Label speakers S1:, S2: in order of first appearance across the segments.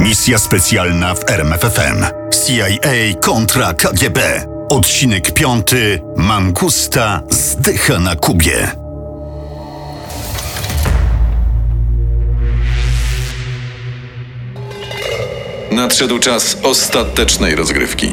S1: Misja specjalna w RMFFM. CIA kontra KGB. Odcinek piąty. Mangusta zdycha na Kubie.
S2: Nadszedł czas ostatecznej rozgrywki.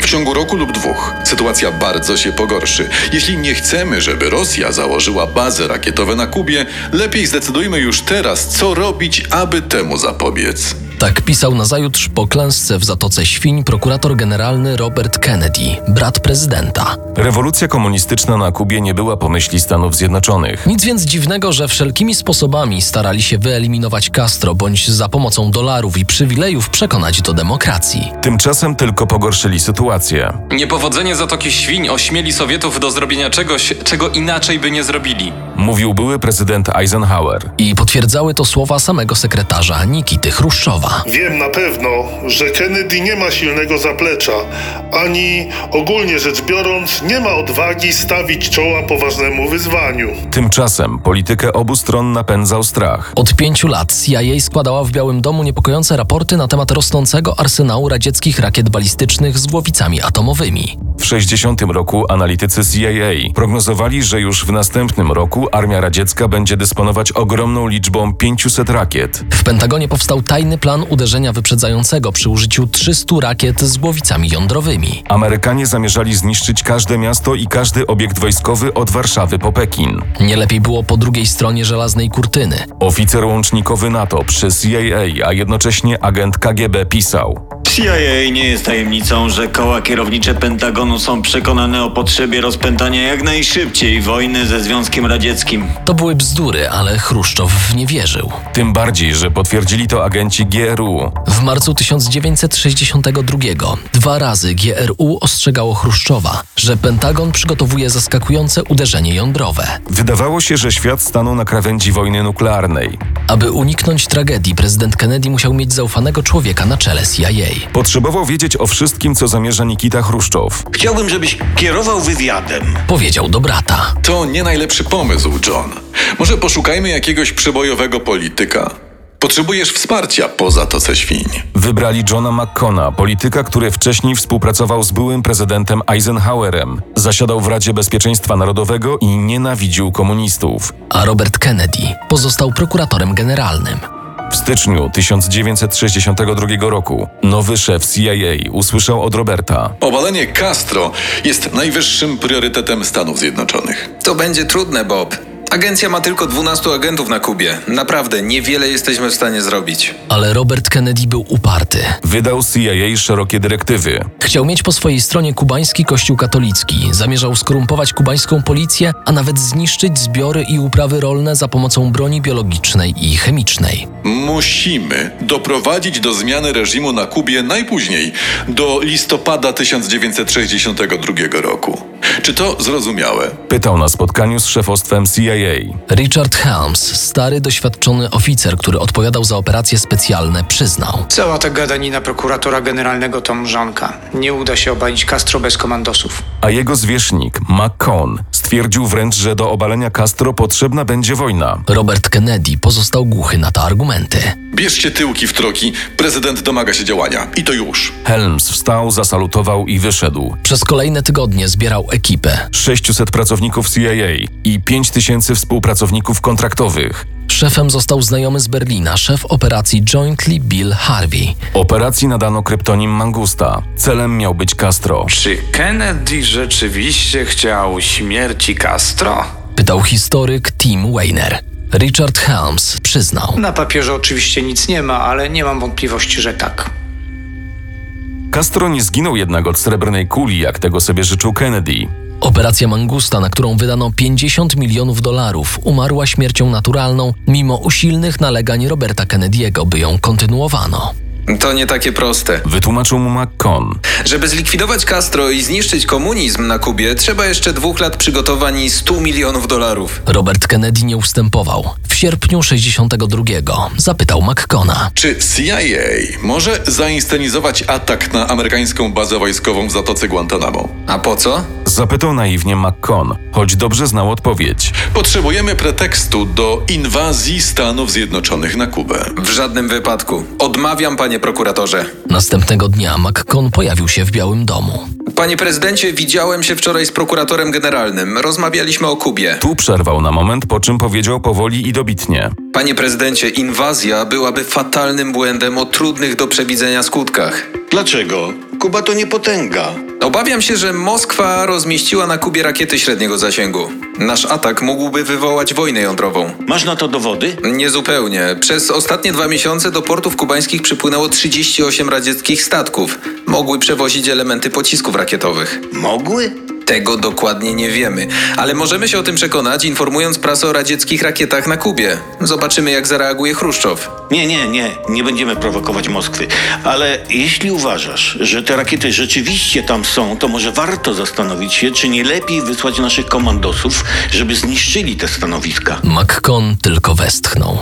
S2: W ciągu roku lub dwóch sytuacja bardzo się pogorszy. Jeśli nie chcemy, żeby Rosja założyła bazy rakietowe na Kubie, lepiej zdecydujmy już teraz, co robić, aby temu zapobiec.
S3: Tak pisał nazajutrz po klęsce w Zatoce Świń prokurator generalny Robert Kennedy, brat prezydenta.
S4: Rewolucja komunistyczna na Kubie nie była po myśli Stanów Zjednoczonych.
S3: Nic więc dziwnego, że wszelkimi sposobami starali się wyeliminować Castro bądź za pomocą dolarów i przywilejów przekonać do demokracji.
S4: Tymczasem tylko pogorszyli sytuację.
S5: Niepowodzenie Zatoki Świń ośmieli Sowietów do zrobienia czegoś, czego inaczej by nie zrobili.
S4: Mówił były prezydent Eisenhower.
S3: I potwierdzały to słowa samego sekretarza Nikity Chruszczowa.
S6: Wiem na pewno, że Kennedy nie ma silnego zaplecza, ani ogólnie rzecz biorąc, nie ma odwagi stawić czoła poważnemu wyzwaniu.
S4: Tymczasem politykę obu stron napędzał strach.
S3: Od pięciu lat CIA składała w Białym Domu niepokojące raporty na temat rosnącego arsenału radzieckich rakiet balistycznych z głowicami atomowymi.
S4: W 60 roku analitycy CIA prognozowali, że już w następnym roku armia radziecka będzie dysponować ogromną liczbą 500 rakiet.
S3: W Pentagonie powstał tajny plan uderzenia wyprzedzającego przy użyciu 300 rakiet z głowicami jądrowymi.
S4: Amerykanie zamierzali zniszczyć każde miasto i każdy obiekt wojskowy od Warszawy po Pekin.
S3: Nie lepiej było po drugiej stronie żelaznej kurtyny.
S4: Oficer łącznikowy NATO przy CIA, a jednocześnie agent KGB pisał:
S7: CIA nie jest tajemnicą, że koła kierownicze Pentagonu są przekonane o potrzebie rozpętania jak najszybciej wojny ze Związkiem Radzieckim.
S3: To były bzdury, ale Chruszczow w nie wierzył.
S4: Tym bardziej, że potwierdzili to agenci GRU.
S3: W marcu 1962 dwa razy GRU ostrzegało Chruszczowa, że Pentagon przygotowuje zaskakujące uderzenie jądrowe.
S4: Wydawało się, że świat stanął na krawędzi wojny nuklearnej.
S3: Aby uniknąć tragedii, prezydent Kennedy musiał mieć zaufanego człowieka na czele CIA.
S4: Potrzebował wiedzieć o wszystkim, co zamierza Nikita Chruszczow.
S8: Chciałbym, żebyś kierował wywiadem.
S3: Powiedział do brata.
S2: To nie najlepszy pomysł, John. Może poszukajmy jakiegoś przebojowego polityka. Potrzebujesz wsparcia po Zatoce Świń.
S4: Wybrali Johna McCona, polityka, który wcześniej współpracował z byłym prezydentem Eisenhowerem. Zasiadał w Radzie Bezpieczeństwa Narodowego i nienawidził komunistów.
S3: A Robert Kennedy pozostał prokuratorem generalnym.
S4: W styczniu 1962 roku nowy szef CIA usłyszał od Roberta.
S2: Obalenie Castro jest najwyższym priorytetem Stanów Zjednoczonych.
S9: To będzie trudne, Bob. Agencja ma tylko 12 agentów na Kubie. Naprawdę, niewiele jesteśmy w stanie zrobić.
S3: Ale Robert Kennedy był uparty.
S4: Wydał CIA szerokie dyrektywy.
S3: Chciał mieć po swojej stronie kubański kościół katolicki, zamierzał skorumpować kubańską policję, a nawet zniszczyć zbiory i uprawy rolne za pomocą broni biologicznej i chemicznej.
S2: Musimy doprowadzić do zmiany reżimu na Kubie najpóźniej do listopada 1962 roku. Czy to zrozumiałe?
S4: Pytał na spotkaniu z szefostwem CIA.
S3: Richard Helms, stary, doświadczony oficer, który odpowiadał za operacje specjalne, przyznał.
S10: Cała ta gadanina prokuratora generalnego to mrzonka. Nie uda się obalić Castro bez komandosów.
S4: A jego zwierzchnik, McCone, stwierdził wręcz, że do obalenia Castro potrzebna będzie wojna.
S3: Robert Kennedy pozostał głuchy na te argumenty.
S2: Bierzcie tyłki w troki, prezydent domaga się działania. I to już.
S4: Helms wstał, zasalutował i wyszedł.
S3: Przez kolejne tygodnie zbierał ekipę.
S4: 600 pracowników CIA i 5000 współpracowników kontraktowych.
S3: Szefem został znajomy z Berlina, szef operacji Jointly Bill Harvey.
S4: Operacji nadano kryptonim Mangusta. Celem miał być Castro.
S11: Czy Kennedy rzeczywiście chciał śmierci Castro?
S3: Pytał historyk Tim Weiner. Richard Helms przyznał.
S10: Na papierze oczywiście nic nie ma, ale nie mam wątpliwości, że tak.
S4: Castro nie zginął jednak od srebrnej kuli, jak tego sobie życzył Kennedy.
S3: Operacja Mangusta, na którą wydano 50 milionów dolarów, umarła śmiercią naturalną, mimo usilnych nalegań Roberta Kennedy'ego, by ją kontynuowano.
S9: To nie takie proste.
S4: Wytłumaczył mu McCon.
S9: Żeby zlikwidować Castro i zniszczyć komunizm na Kubie, trzeba jeszcze dwóch lat przygotowań i 100 milionów dolarów.
S3: Robert Kennedy nie ustępował. W sierpniu 62 zapytał McCona.
S2: Czy CIA może zainscenizować atak na amerykańską bazę wojskową w Zatoce Guantanamo?
S9: A po co?
S4: Zapytał naiwnie McCon, choć dobrze znał odpowiedź.
S2: Potrzebujemy pretekstu do inwazji Stanów Zjednoczonych na Kubę.
S9: W żadnym wypadku. Odmawiam, panie prokuratorze.
S3: Następnego dnia McCon pojawił się w Białym Domu.
S9: Panie prezydencie, widziałem się wczoraj z prokuratorem generalnym. Rozmawialiśmy o Kubie.
S4: Tu przerwał na moment, po czym powiedział powoli i dobitnie.
S9: Panie prezydencie, inwazja byłaby fatalnym błędem o trudnych do przewidzenia skutkach.
S8: Dlaczego? Kuba to nie potęga.
S9: Obawiam się, że Moskwa rozmieściła na Kubie rakiety średniego zasięgu. Nasz atak mógłby wywołać wojnę jądrową.
S8: Masz na to dowody?
S9: Niezupełnie. Przez ostatnie dwa miesiące do portów kubańskich przypłynęło 38 radzieckich statków. Mogły przewozić elementy pocisków rakietowych.
S8: Mogły?
S9: Tego dokładnie nie wiemy, ale możemy się o tym przekonać, informując prasę o radzieckich rakietach na Kubie. Zobaczymy, jak zareaguje Chruszczow.
S8: Nie, nie, nie. Nie będziemy prowokować Moskwy. Ale jeśli uważasz, że te rakiety rzeczywiście tam są, to może warto zastanowić się, czy nie lepiej wysłać naszych komandosów, żeby zniszczyli te stanowiska.
S3: McCon tylko westchnął.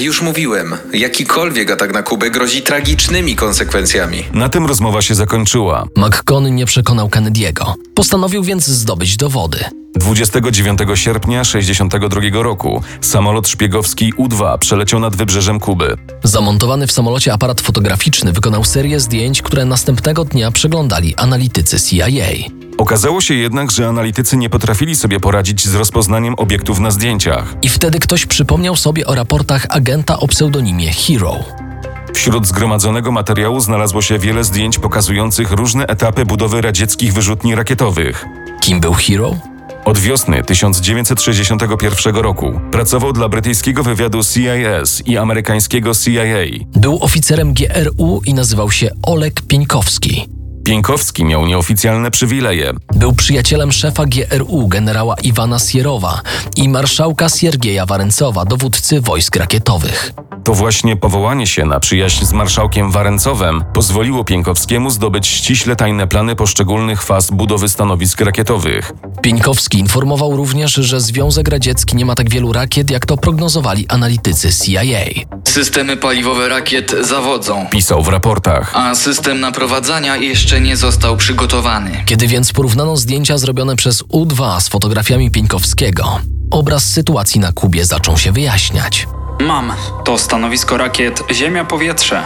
S9: Już mówiłem, jakikolwiek atak na Kubę grozi tragicznymi konsekwencjami.
S4: Na tym rozmowa się zakończyła.
S3: McCon nie przekonał Kennedy'ego. Postanowił więc zdobyć dowody.
S4: 29 sierpnia 62 roku samolot szpiegowski U-2 przeleciał nad wybrzeżem Kuby.
S3: Zamontowany w samolocie aparat fotograficzny wykonał serię zdjęć, które następnego dnia przeglądali analitycy CIA.
S4: Okazało się jednak, że analitycy nie potrafili sobie poradzić z rozpoznaniem obiektów na zdjęciach.
S3: I wtedy ktoś przypomniał sobie o raportach agenta o pseudonimie Hero.
S4: Wśród zgromadzonego materiału znalazło się wiele zdjęć pokazujących różne etapy budowy radzieckich wyrzutni rakietowych.
S3: Kim był Hero?
S4: Od wiosny 1961 roku pracował dla brytyjskiego wywiadu CIS i amerykańskiego CIA.
S3: Był oficerem GRU i nazywał się Oleg Pieńkowski.
S4: Pienkowski miał nieoficjalne przywileje.
S3: Był przyjacielem szefa GRU generała Iwana Sierowa i marszałka Siergieja Warencowa, dowódcy wojsk rakietowych.
S4: To właśnie powołanie się na przyjaźń z marszałkiem Warencowem pozwoliło Pienkowskiemu zdobyć ściśle tajne plany poszczególnych faz budowy stanowisk rakietowych.
S3: Pieńkowski informował również, że Związek Radziecki nie ma tak wielu rakiet, jak to prognozowali analitycy CIA.
S12: Systemy paliwowe rakiet zawodzą,
S4: pisał w raportach,
S12: a system naprowadzania jeszcze nie został przygotowany.
S3: Kiedy więc porównano zdjęcia zrobione przez U2 z fotografiami Pieńkowskiego, obraz sytuacji na Kubie zaczął się wyjaśniać.
S13: Mam. To stanowisko rakiet Ziemia-Powietrze.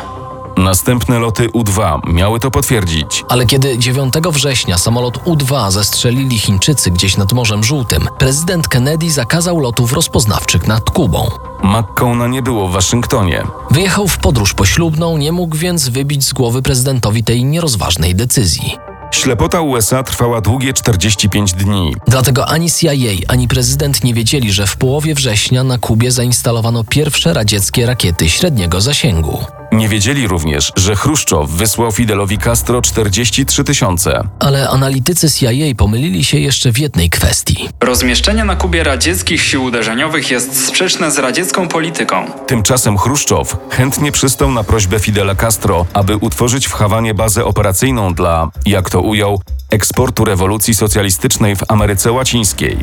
S4: Następne loty U-2 miały to potwierdzić.
S3: Ale kiedy 9 września samolot U-2 zestrzelili Chińczycy gdzieś nad Morzem Żółtym, prezydent Kennedy zakazał lotów rozpoznawczych nad Kubą.
S4: McCona nie było w Waszyngtonie.
S3: Wyjechał w podróż poślubną, nie mógł więc wybić z głowy prezydentowi tej nierozważnej decyzji.
S4: Ślepota USA trwała długie 45 dni.
S3: Dlatego ani CIA, ani prezydent nie wiedzieli, że w połowie września na Kubie zainstalowano pierwsze radzieckie rakiety średniego zasięgu.
S4: Nie wiedzieli również, że Chruszczow wysłał Fidelowi Castro 43 tysiące.
S3: Ale analitycy CIA pomylili się jeszcze w jednej kwestii.
S13: Rozmieszczenie na Kubie radzieckich sił uderzeniowych jest sprzeczne z radziecką polityką.
S4: Tymczasem Chruszczow chętnie przystał na prośbę Fidela Castro, aby utworzyć w Hawanie bazę operacyjną dla, jak to ujął, eksportu rewolucji socjalistycznej w Ameryce Łacińskiej.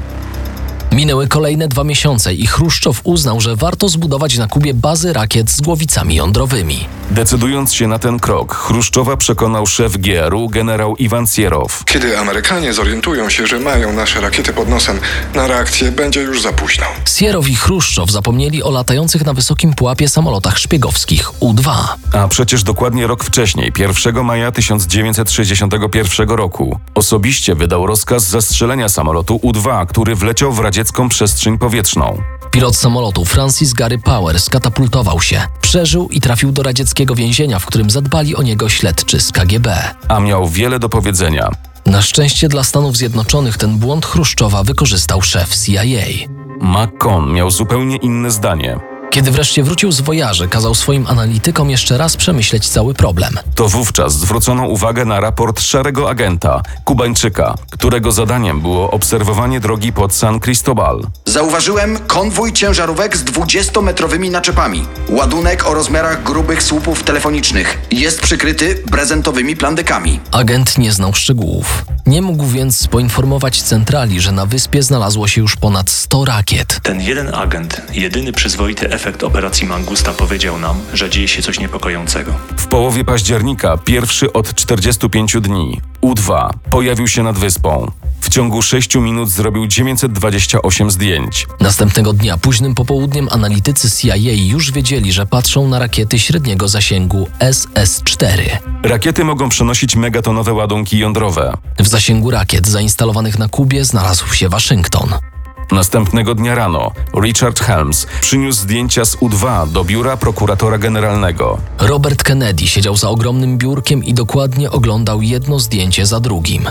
S3: Minęły kolejne dwa miesiące i Chruszczow uznał, że warto zbudować na Kubie bazy rakiet z głowicami jądrowymi.
S4: Decydując się na ten krok, Chruszczowa przekonał szef GRU generał Iwan Sierow.
S14: Kiedy Amerykanie zorientują się, że mają nasze rakiety pod nosem, na reakcję będzie już za późno.
S3: Sierow i Chruszczow zapomnieli o latających na wysokim pułapie samolotach szpiegowskich U-2.
S4: A przecież dokładnie rok wcześniej, 1 maja 1961 roku, osobiście wydał rozkaz zastrzelenia samolotu U-2, który wleciał w radzie sowiecką przestrzeń powietrzną.
S3: Pilot samolotu Francis Gary Powers katapultował się, przeżył i trafił do radzieckiego więzienia, w którym zadbali o niego śledczy z KGB.
S4: A miał wiele do powiedzenia.
S3: Na szczęście dla Stanów Zjednoczonych ten błąd Chruszczowa wykorzystał szef CIA.
S4: McCon miał zupełnie inne zdanie.
S3: Kiedy wreszcie wrócił z wojaży, kazał swoim analitykom jeszcze raz przemyśleć cały problem.
S4: To wówczas zwrócono uwagę na raport szarego agenta, Kubańczyka, którego zadaniem było obserwowanie drogi pod San Cristobal.
S15: Zauważyłem konwój ciężarówek z 20-metrowymi naczepami. Ładunek o rozmiarach grubych słupów telefonicznych. Jest przykryty prezentowymi plandekami.
S3: Agent nie znał szczegółów. Nie mógł więc poinformować centrali, że na wyspie znalazło się już ponad 100 rakiet.
S16: Ten jeden agent, jedyny przyzwoity efekt operacji Mangusta powiedział nam, że dzieje się coś niepokojącego.
S4: W połowie października, pierwszy od 45 dni, U-2 pojawił się nad wyspą. W ciągu 6 minut zrobił 928 zdjęć.
S3: Następnego dnia, późnym popołudniem, analitycy CIA już wiedzieli, że patrzą na rakiety średniego zasięgu SS-4.
S4: Rakiety mogą przenosić megatonowe ładunki jądrowe.
S3: W zasięgu rakiet zainstalowanych na Kubie znalazł się Waszyngton.
S4: Następnego dnia rano Richard Helms przyniósł zdjęcia z U-2 do biura prokuratora generalnego.
S3: Robert Kennedy siedział za ogromnym biurkiem i dokładnie oglądał jedno zdjęcie za drugim.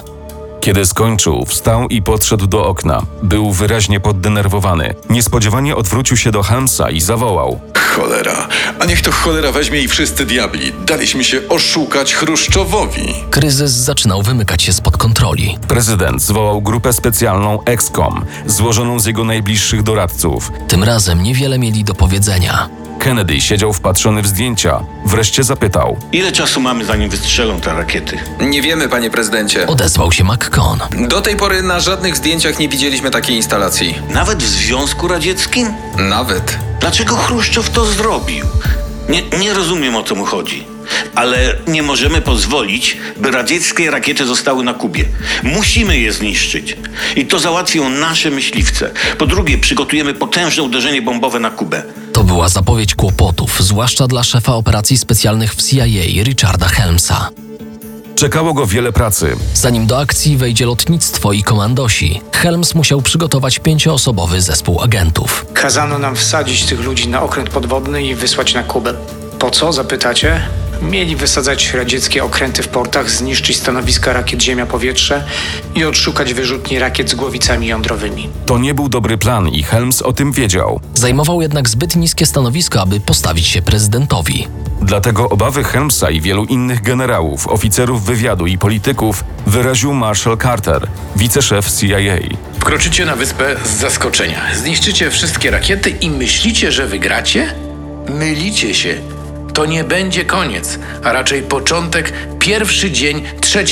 S4: Kiedy skończył, wstał i podszedł do okna. Był wyraźnie poddenerwowany. Niespodziewanie odwrócił się do Helmsa i zawołał.
S2: Cholera. A niech to cholera weźmie i wszyscy diabli. Daliśmy się oszukać Chruszczowowi.
S3: Kryzys zaczynał wymykać się spod kontroli.
S4: Prezydent zwołał grupę specjalną EXCOM, złożoną z jego najbliższych doradców.
S3: Tym razem niewiele mieli do powiedzenia.
S4: Kennedy siedział wpatrzony w zdjęcia. Wreszcie zapytał.
S8: Ile czasu mamy, zanim wystrzelą te rakiety?
S9: Nie wiemy, panie prezydencie.
S3: Odezwał się McCon.
S9: Do tej pory na żadnych zdjęciach nie widzieliśmy takiej instalacji.
S8: Nawet w Związku Radzieckim?
S9: Nawet.
S8: Dlaczego Chruszczow to zrobił? Nie, nie rozumiem, o co mu chodzi. Ale nie możemy pozwolić, by radzieckie rakiety zostały na Kubie. Musimy je zniszczyć. I to załatwią nasze myśliwce. Po drugie, przygotujemy potężne uderzenie bombowe na Kubę.
S3: To była zapowiedź kłopotów, zwłaszcza dla szefa operacji specjalnych w CIA Richarda Helmsa.
S4: Czekało go wiele pracy.
S3: Zanim do akcji wejdzie lotnictwo i komandosi, Helms musiał przygotować pięcioosobowy zespół agentów.
S10: Kazano nam wsadzić tych ludzi na okręt podwodny i wysłać na Kubę. Po co, zapytacie? Mieli wysadzać radzieckie okręty w portach, zniszczyć stanowiska rakiet ziemia-powietrze i odszukać wyrzutni rakiet z głowicami jądrowymi.
S4: To nie był dobry plan i Helms o tym wiedział.
S3: Zajmował jednak zbyt niskie stanowisko, aby postawić się prezydentowi.
S4: Dlatego obawy Helmsa i wielu innych generałów, oficerów wywiadu i polityków wyraził Marshall Carter, wiceszef CIA.
S17: Wkroczycie na wyspę z zaskoczenia. Zniszczycie wszystkie rakiety i myślicie, że wygracie? Mylicie się. To nie będzie koniec, a raczej początek pierwszy dzień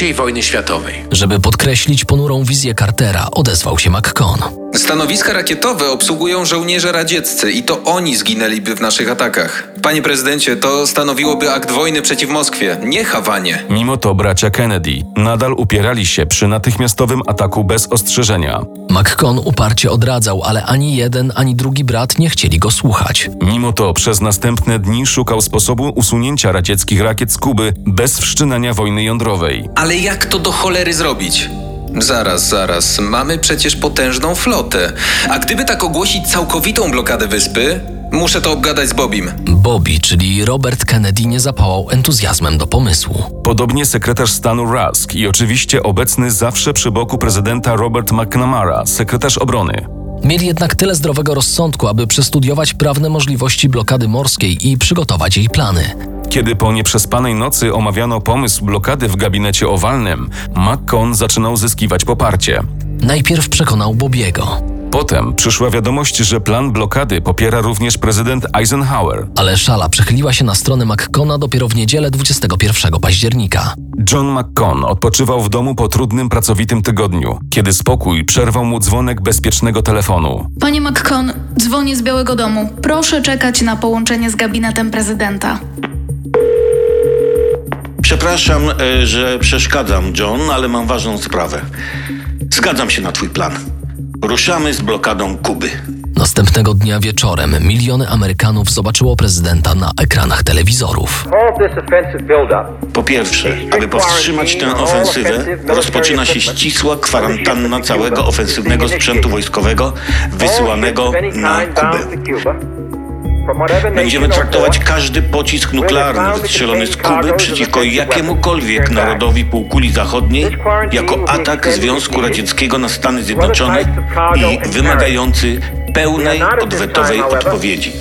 S17: III wojny światowej.
S3: Żeby podkreślić ponurą wizję Cartera, odezwał się McCon.
S9: Stanowiska rakietowe obsługują żołnierze radzieccy i to oni zginęliby w naszych atakach. Panie prezydencie, to stanowiłoby akt wojny przeciw Moskwie, nie Hawanie.
S4: Mimo to bracia Kennedy nadal upierali się przy natychmiastowym ataku bez ostrzeżenia.
S3: McCon uparcie odradzał, ale ani jeden, ani drugi brat nie chcieli go słuchać.
S4: Mimo to przez następne dni szukał sposobu usunięcia radzieckich rakiet z Kuby bez wszczynania wojny jądrowej.
S9: Ale jak to do cholery zrobić? Zaraz, zaraz, mamy przecież potężną flotę. A gdyby tak ogłosić całkowitą blokadę wyspy, muszę to obgadać z Bobim.
S3: Bobby, czyli Robert Kennedy, nie zapałał entuzjazmem do pomysłu.
S4: Podobnie sekretarz stanu Rusk i oczywiście obecny zawsze przy boku prezydenta Robert McNamara, sekretarz obrony.
S3: Mieli jednak tyle zdrowego rozsądku, aby przestudiować prawne możliwości blokady morskiej i przygotować jej plany.
S4: Kiedy po nieprzespanej nocy omawiano pomysł blokady w gabinecie owalnym, McCon zaczynał zyskiwać poparcie.
S3: Najpierw przekonał Bobiego.
S4: Potem przyszła wiadomość, że plan blokady popiera również prezydent Eisenhower.
S3: Ale szala przechyliła się na stronę McCona dopiero w niedzielę 21 października.
S4: John McCon odpoczywał w domu po trudnym, pracowitym tygodniu, kiedy spokój przerwał mu dzwonek bezpiecznego telefonu.
S18: Panie McCon, dzwonię z Białego Domu. Proszę czekać na połączenie z gabinetem prezydenta.
S8: Przepraszam, e, że przeszkadzam, John, ale mam ważną sprawę. Zgadzam się na Twój plan. Ruszamy z blokadą Kuby.
S3: Następnego dnia wieczorem miliony Amerykanów zobaczyło prezydenta na ekranach telewizorów.
S8: Po pierwsze, aby powstrzymać tę ofensywę, rozpoczyna się ścisła kwarantanna całego ofensywnego sprzętu wojskowego wysyłanego na Kubę. Będziemy traktować każdy pocisk nuklearny wystrzelony z Kuby przeciwko jakiemukolwiek narodowi półkuli zachodniej jako atak Związku Radzieckiego na Stany Zjednoczone i wymagający pełnej odwetowej odpowiedzi.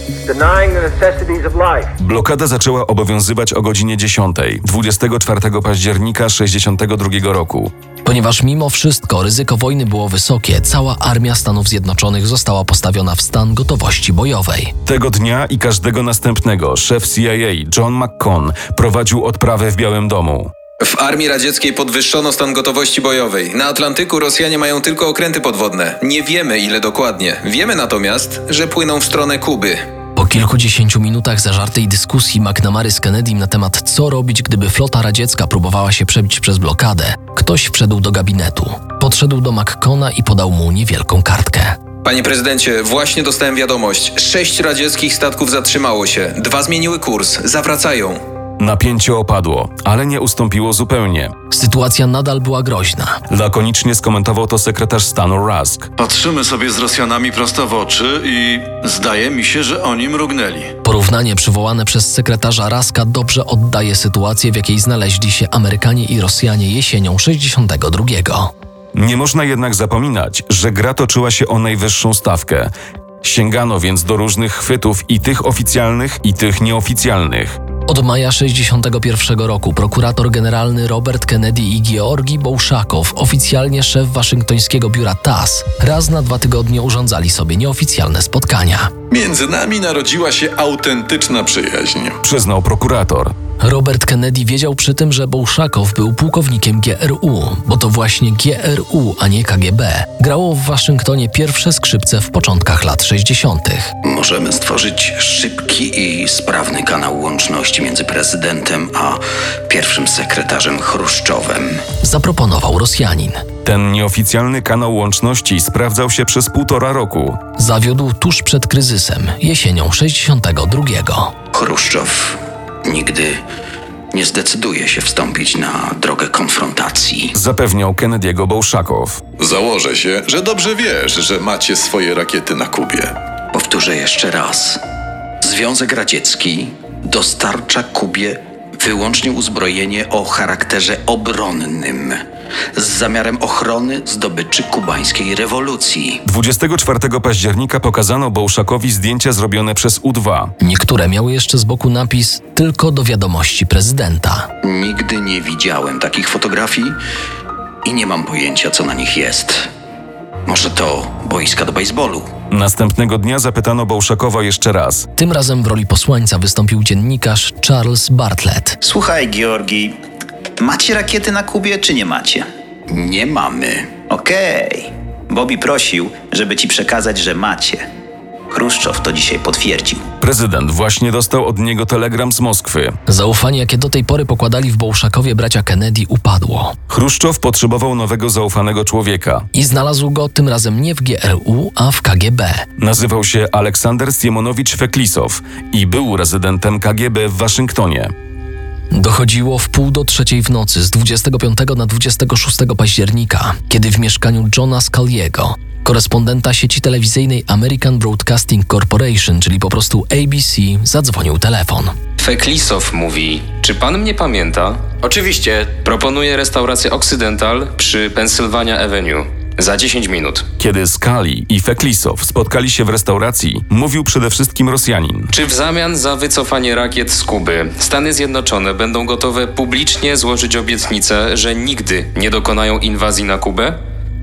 S4: Blokada zaczęła obowiązywać o godzinie 10, 24 października 1962 roku.
S3: Ponieważ mimo wszystko ryzyko wojny było wysokie, cała armia Stanów Zjednoczonych została postawiona w stan gotowości bojowej.
S4: Tego dnia i każdego następnego szef CIA John McCone prowadził odprawę w Białym Domu.
S9: W armii radzieckiej podwyższono stan gotowości bojowej. Na Atlantyku Rosjanie mają tylko okręty podwodne. Nie wiemy ile dokładnie. Wiemy natomiast, że płyną w stronę Kuby.
S3: Po kilkudziesięciu minutach zażartej dyskusji McNamary z Kennedym na temat co robić, gdyby flota radziecka próbowała się przebić przez blokadę, ktoś wszedł do gabinetu. Podszedł do McCona i podał mu niewielką kartkę.
S9: Panie prezydencie, właśnie dostałem wiadomość. Sześć radzieckich statków zatrzymało się. Dwa zmieniły kurs. Zawracają.
S4: Napięcie opadło, ale nie ustąpiło zupełnie.
S3: Sytuacja nadal była groźna.
S4: Lakonicznie skomentował to sekretarz stanu Rusk.
S19: Patrzymy sobie z Rosjanami prosto w oczy i zdaje mi się, że oni mrugnęli.
S3: Porównanie przywołane przez sekretarza Raska dobrze oddaje sytuację, w jakiej znaleźli się Amerykanie i Rosjanie jesienią 62.
S4: Nie można jednak zapominać, że gra toczyła się o najwyższą stawkę. Sięgano więc do różnych chwytów i tych oficjalnych, i tych nieoficjalnych.
S3: Od maja 61 roku prokurator generalny Robert Kennedy i Georgi Bołszakow, oficjalnie szef waszyngtońskiego biura TAS, raz na dwa tygodnie urządzali sobie nieoficjalne spotkania.
S2: Między nami narodziła się autentyczna przyjaźń.
S4: Przyznał prokurator.
S3: Robert Kennedy wiedział przy tym, że Bołszakow był pułkownikiem GRU, bo to właśnie GRU, a nie KGB, grało w Waszyngtonie pierwsze skrzypce w początkach lat 60.
S20: Możemy stworzyć szybki i sprawny kanał łączności między prezydentem a pierwszym sekretarzem Chruszczowem.
S3: Zaproponował Rosjanin.
S4: Ten nieoficjalny kanał łączności sprawdzał się przez półtora roku.
S3: Zawiódł tuż przed kryzysem, jesienią 62.
S20: Chruszczow nigdy nie zdecyduje się wstąpić na drogę konfrontacji.
S4: Zapewniał Kennedy'ego Bołszakow.
S2: Założę się, że dobrze wiesz, że macie swoje rakiety na Kubie.
S20: Powtórzę jeszcze raz. Związek Radziecki dostarcza Kubie wyłącznie uzbrojenie o charakterze obronnym z zamiarem ochrony zdobyczy kubańskiej rewolucji.
S4: 24 października pokazano Bołszakowi zdjęcia zrobione przez U2.
S3: Niektóre miały jeszcze z boku napis tylko do wiadomości prezydenta.
S20: Nigdy nie widziałem takich fotografii i nie mam pojęcia, co na nich jest. Może to boiska do baseballu?
S4: Następnego dnia zapytano Bołszakowa jeszcze raz.
S3: Tym razem w roli posłańca wystąpił dziennikarz Charles Bartlett.
S21: Słuchaj, Georgi, macie rakiety na Kubie, czy nie macie?
S20: Nie mamy.
S21: Okej. Bobby prosił, żeby ci przekazać, że macie. Chruszczow to dzisiaj potwierdził.
S4: Prezydent właśnie dostał od niego telegram z Moskwy.
S3: Zaufanie, jakie do tej pory pokładali w Bołszakowie bracia Kennedy, upadło.
S4: Chruszczow potrzebował nowego zaufanego człowieka.
S3: I znalazł go tym razem nie w GRU, a w KGB.
S4: Nazywał się Aleksander Stiemonowicz Feklisow i był rezydentem KGB w Waszyngtonie.
S3: Dochodziło w pół do trzeciej w nocy z 25 na 26 października, kiedy w mieszkaniu Johna Scaliego, korespondenta sieci telewizyjnej American Broadcasting Corporation, czyli po prostu ABC, zadzwonił telefon.
S22: Feklisow mówi: Czy pan mnie pamięta? Oczywiście. Proponuję restaurację Occidental przy Pennsylvania Avenue. Za 10 minut.
S4: Kiedy Skali i Feklisow spotkali się w restauracji, mówił przede wszystkim Rosjanin.
S22: Czy w zamian za wycofanie rakiet z Kuby Stany Zjednoczone będą gotowe publicznie złożyć obietnicę, że nigdy nie dokonają inwazji na Kubę?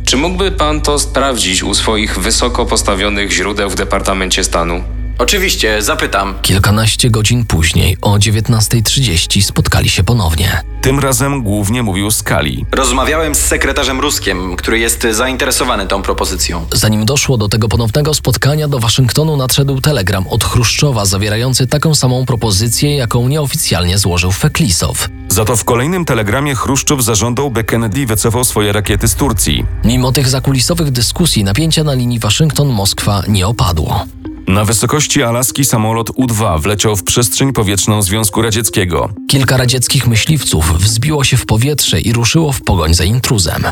S22: Czy mógłby pan to sprawdzić u swoich wysoko postawionych źródeł w Departamencie Stanu?
S9: Oczywiście, zapytam.
S3: Kilkanaście godzin później, o 19.30, spotkali się ponownie.
S4: Tym razem głównie mówił Skali.
S9: Rozmawiałem z sekretarzem Ruskiem, który jest zainteresowany tą propozycją.
S3: Zanim doszło do tego ponownego spotkania, do Waszyngtonu nadszedł telegram od Chruszczowa zawierający taką samą propozycję, jaką nieoficjalnie złożył Feklisow.
S4: Za to w kolejnym telegramie Chruszczow zażądał, by Kennedy wycofał swoje rakiety z Turcji.
S3: Mimo tych zakulisowych dyskusji, napięcia na linii Waszyngton-Moskwa nie opadło.
S4: Na wysokości Alaski samolot U-2 wleciał w przestrzeń powietrzną Związku Radzieckiego.
S3: Kilka radzieckich myśliwców wzbiło się w powietrze i ruszyło w pogoń za intruzem.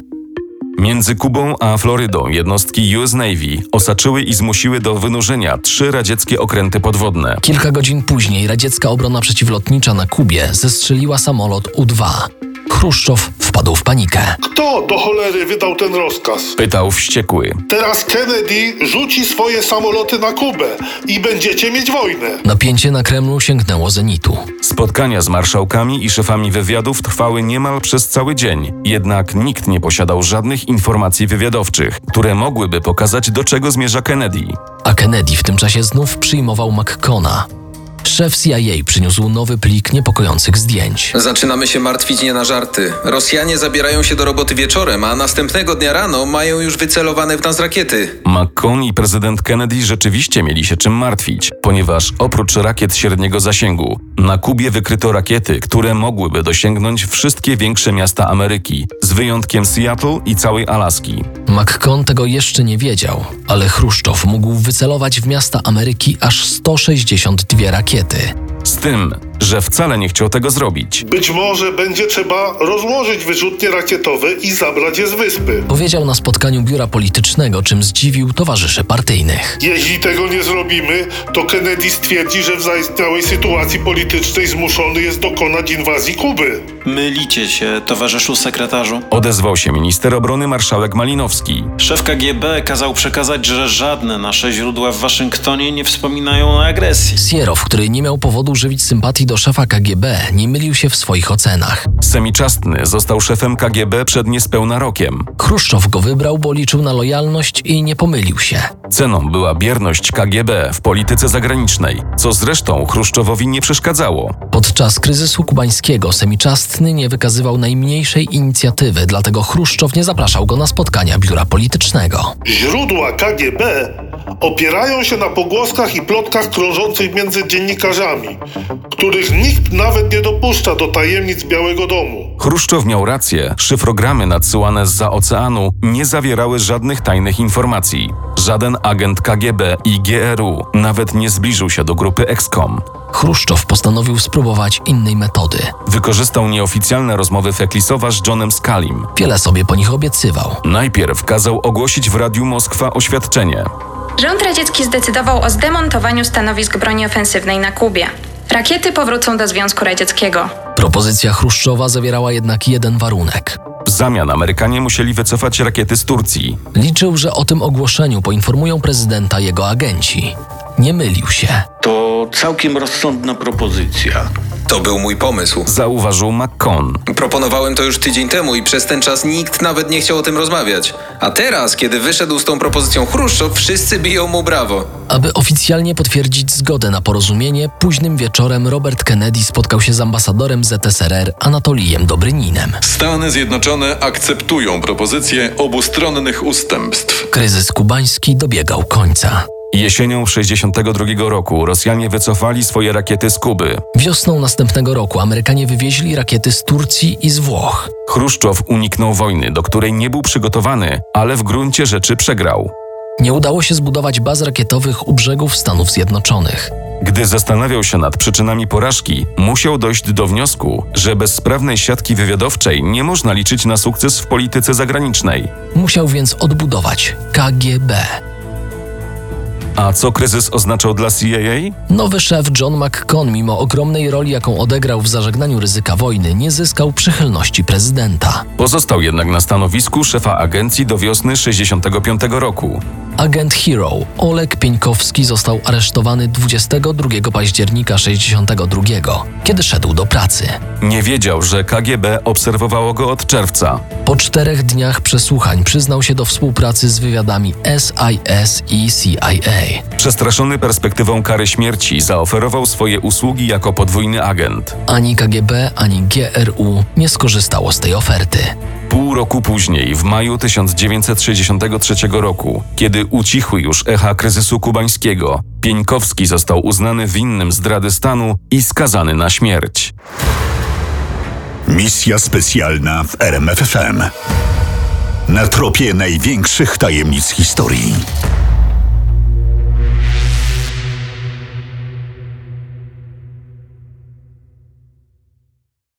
S4: Między Kubą a Florydą jednostki US Navy osaczyły i zmusiły do wynurzenia trzy radzieckie okręty podwodne.
S3: Kilka godzin później radziecka obrona przeciwlotnicza na Kubie zestrzeliła samolot U-2. Chruszczow wpadł w panikę.
S6: Kto do cholery wydał ten rozkaz?
S4: Pytał wściekły.
S6: Teraz Kennedy rzuci swoje samoloty na Kubę i będziecie mieć wojnę.
S3: Napięcie na Kremlu sięgnęło zenitu.
S4: Spotkania z marszałkami i szefami wywiadów trwały niemal przez cały dzień, jednak nikt nie posiadał żadnych informacji wywiadowczych, które mogłyby pokazać, do czego zmierza Kennedy.
S3: A Kennedy w tym czasie znów przyjmował McCona. Szef CIA przyniósł nowy plik niepokojących zdjęć.
S9: Zaczynamy się martwić nie na żarty. Rosjanie zabierają się do roboty wieczorem, a następnego dnia rano mają już wycelowane w nas rakiety.
S4: McCone i prezydent Kennedy rzeczywiście mieli się czym martwić, ponieważ oprócz rakiet średniego zasięgu, na Kubie wykryto rakiety, które mogłyby dosięgnąć wszystkie większe miasta Ameryki, z wyjątkiem Seattle i całej Alaski.
S3: McCon tego jeszcze nie wiedział, ale Chruszczow mógł wycelować w miasta Ameryki aż 162 rakiety.
S4: Z tym, że wcale nie chciał tego zrobić.
S6: Być może będzie trzeba rozłożyć wyrzutnie rakietowe i zabrać je z wyspy.
S3: Powiedział na spotkaniu biura politycznego, czym zdziwił towarzyszy partyjnych.
S6: Jeśli tego nie zrobimy, to Kennedy stwierdzi, że w zaistniałej sytuacji politycznej zmuszony jest dokonać inwazji Kuby.
S7: Mylicie się, towarzyszu sekretarzu.
S4: Odezwał się minister obrony marszałek Malinowski.
S7: Szef KGB kazał przekazać, że żadne nasze źródła w Waszyngtonie nie wspominają o agresji.
S3: Sierow, który nie miał powodu żywić sympatii do szefa KGB, nie mylił się w swoich ocenach.
S4: Semiczastny został szefem KGB przed niespełna rokiem.
S3: Chruszczow go wybrał, bo liczył na lojalność i nie pomylił się.
S4: Ceną była bierność KGB w polityce zagranicznej, co zresztą Chruszczowowi nie przeszkadzało.
S3: Podczas kryzysu kubańskiego semiczastny nie wykazywał najmniejszej inicjatywy, dlatego Chruszczow nie zapraszał go na spotkania biura politycznego.
S6: Źródła KGB opierają się na pogłoskach i plotkach krążących między dziennikarzami, których nikt nawet nie dopuszcza do tajemnic Białego Domu.
S4: Chruszczow miał rację, szyfrogramy nadsyłane zza oceanu nie zawierały żadnych tajnych informacji. Żaden agent KGB i GRU nawet nie zbliżył się do grupy EXCOM.
S3: Chruszczow postanowił spróbować innej metody.
S4: Wykorzystał nieoficjalne rozmowy Feklisowa z Johnem Scalim.
S3: Wiele sobie po nich obiecywał.
S4: Najpierw kazał ogłosić w Radiu Moskwa oświadczenie.
S1: Rząd radziecki zdecydował o zdemontowaniu stanowisk broni ofensywnej na Kubie. Rakiety powrócą do Związku Radzieckiego.
S3: Propozycja Chruszczowa zawierała jednak jeden warunek.
S4: W zamian Amerykanie musieli wycofać rakiety z Turcji.
S3: Liczył, że o tym ogłoszeniu poinformują prezydenta jego agenci. Nie mylił się.
S8: To całkiem rozsądna propozycja.
S9: To był mój pomysł.
S4: Zauważył McCon.
S9: Proponowałem to już tydzień temu i przez ten czas nikt nawet nie chciał o tym rozmawiać. A teraz, kiedy wyszedł z tą propozycją Chruszczow, wszyscy biją mu brawo.
S3: Aby oficjalnie potwierdzić zgodę na porozumienie, późnym wieczorem Robert Kennedy spotkał się z ambasadorem ZSRR Anatolijem Dobryninem.
S2: Stany Zjednoczone akceptują propozycję obustronnych ustępstw.
S3: Kryzys kubański dobiegał końca.
S4: Jesienią 1962 roku Rosjanie wycofali swoje rakiety z Kuby.
S3: Wiosną następnego roku Amerykanie wywieźli rakiety z Turcji i z Włoch.
S4: Chruszczow uniknął wojny, do której nie był przygotowany, ale w gruncie rzeczy przegrał.
S3: Nie udało się zbudować baz rakietowych u brzegów Stanów Zjednoczonych.
S4: Gdy zastanawiał się nad przyczynami porażki, musiał dojść do wniosku, że bez sprawnej siatki wywiadowczej nie można liczyć na sukces w polityce zagranicznej.
S3: Musiał więc odbudować KGB.
S4: A co kryzys oznaczał dla CIA?
S3: Nowy szef John McCone, mimo ogromnej roli, jaką odegrał w zażegnaniu ryzyka wojny, nie zyskał przychylności prezydenta.
S4: Pozostał jednak na stanowisku szefa agencji do wiosny 65 roku.
S3: Agent Hero Oleg Pieńkowski został aresztowany 22 października 62, kiedy szedł do pracy.
S4: Nie wiedział, że KGB obserwowało go od czerwca.
S3: Po czterech dniach przesłuchań przyznał się do współpracy z wywiadami SIS i CIA.
S4: Przestraszony perspektywą kary śmierci, zaoferował swoje usługi jako podwójny agent.
S3: Ani KGB, ani GRU nie skorzystało z tej oferty.
S4: Pół roku później, w maju 1963 roku, kiedy ucichły już echa kryzysu kubańskiego, Pieńkowski został uznany winnym zdrady stanu i skazany na śmierć.
S5: Misja specjalna w RMFFM. Na tropie największych tajemnic historii.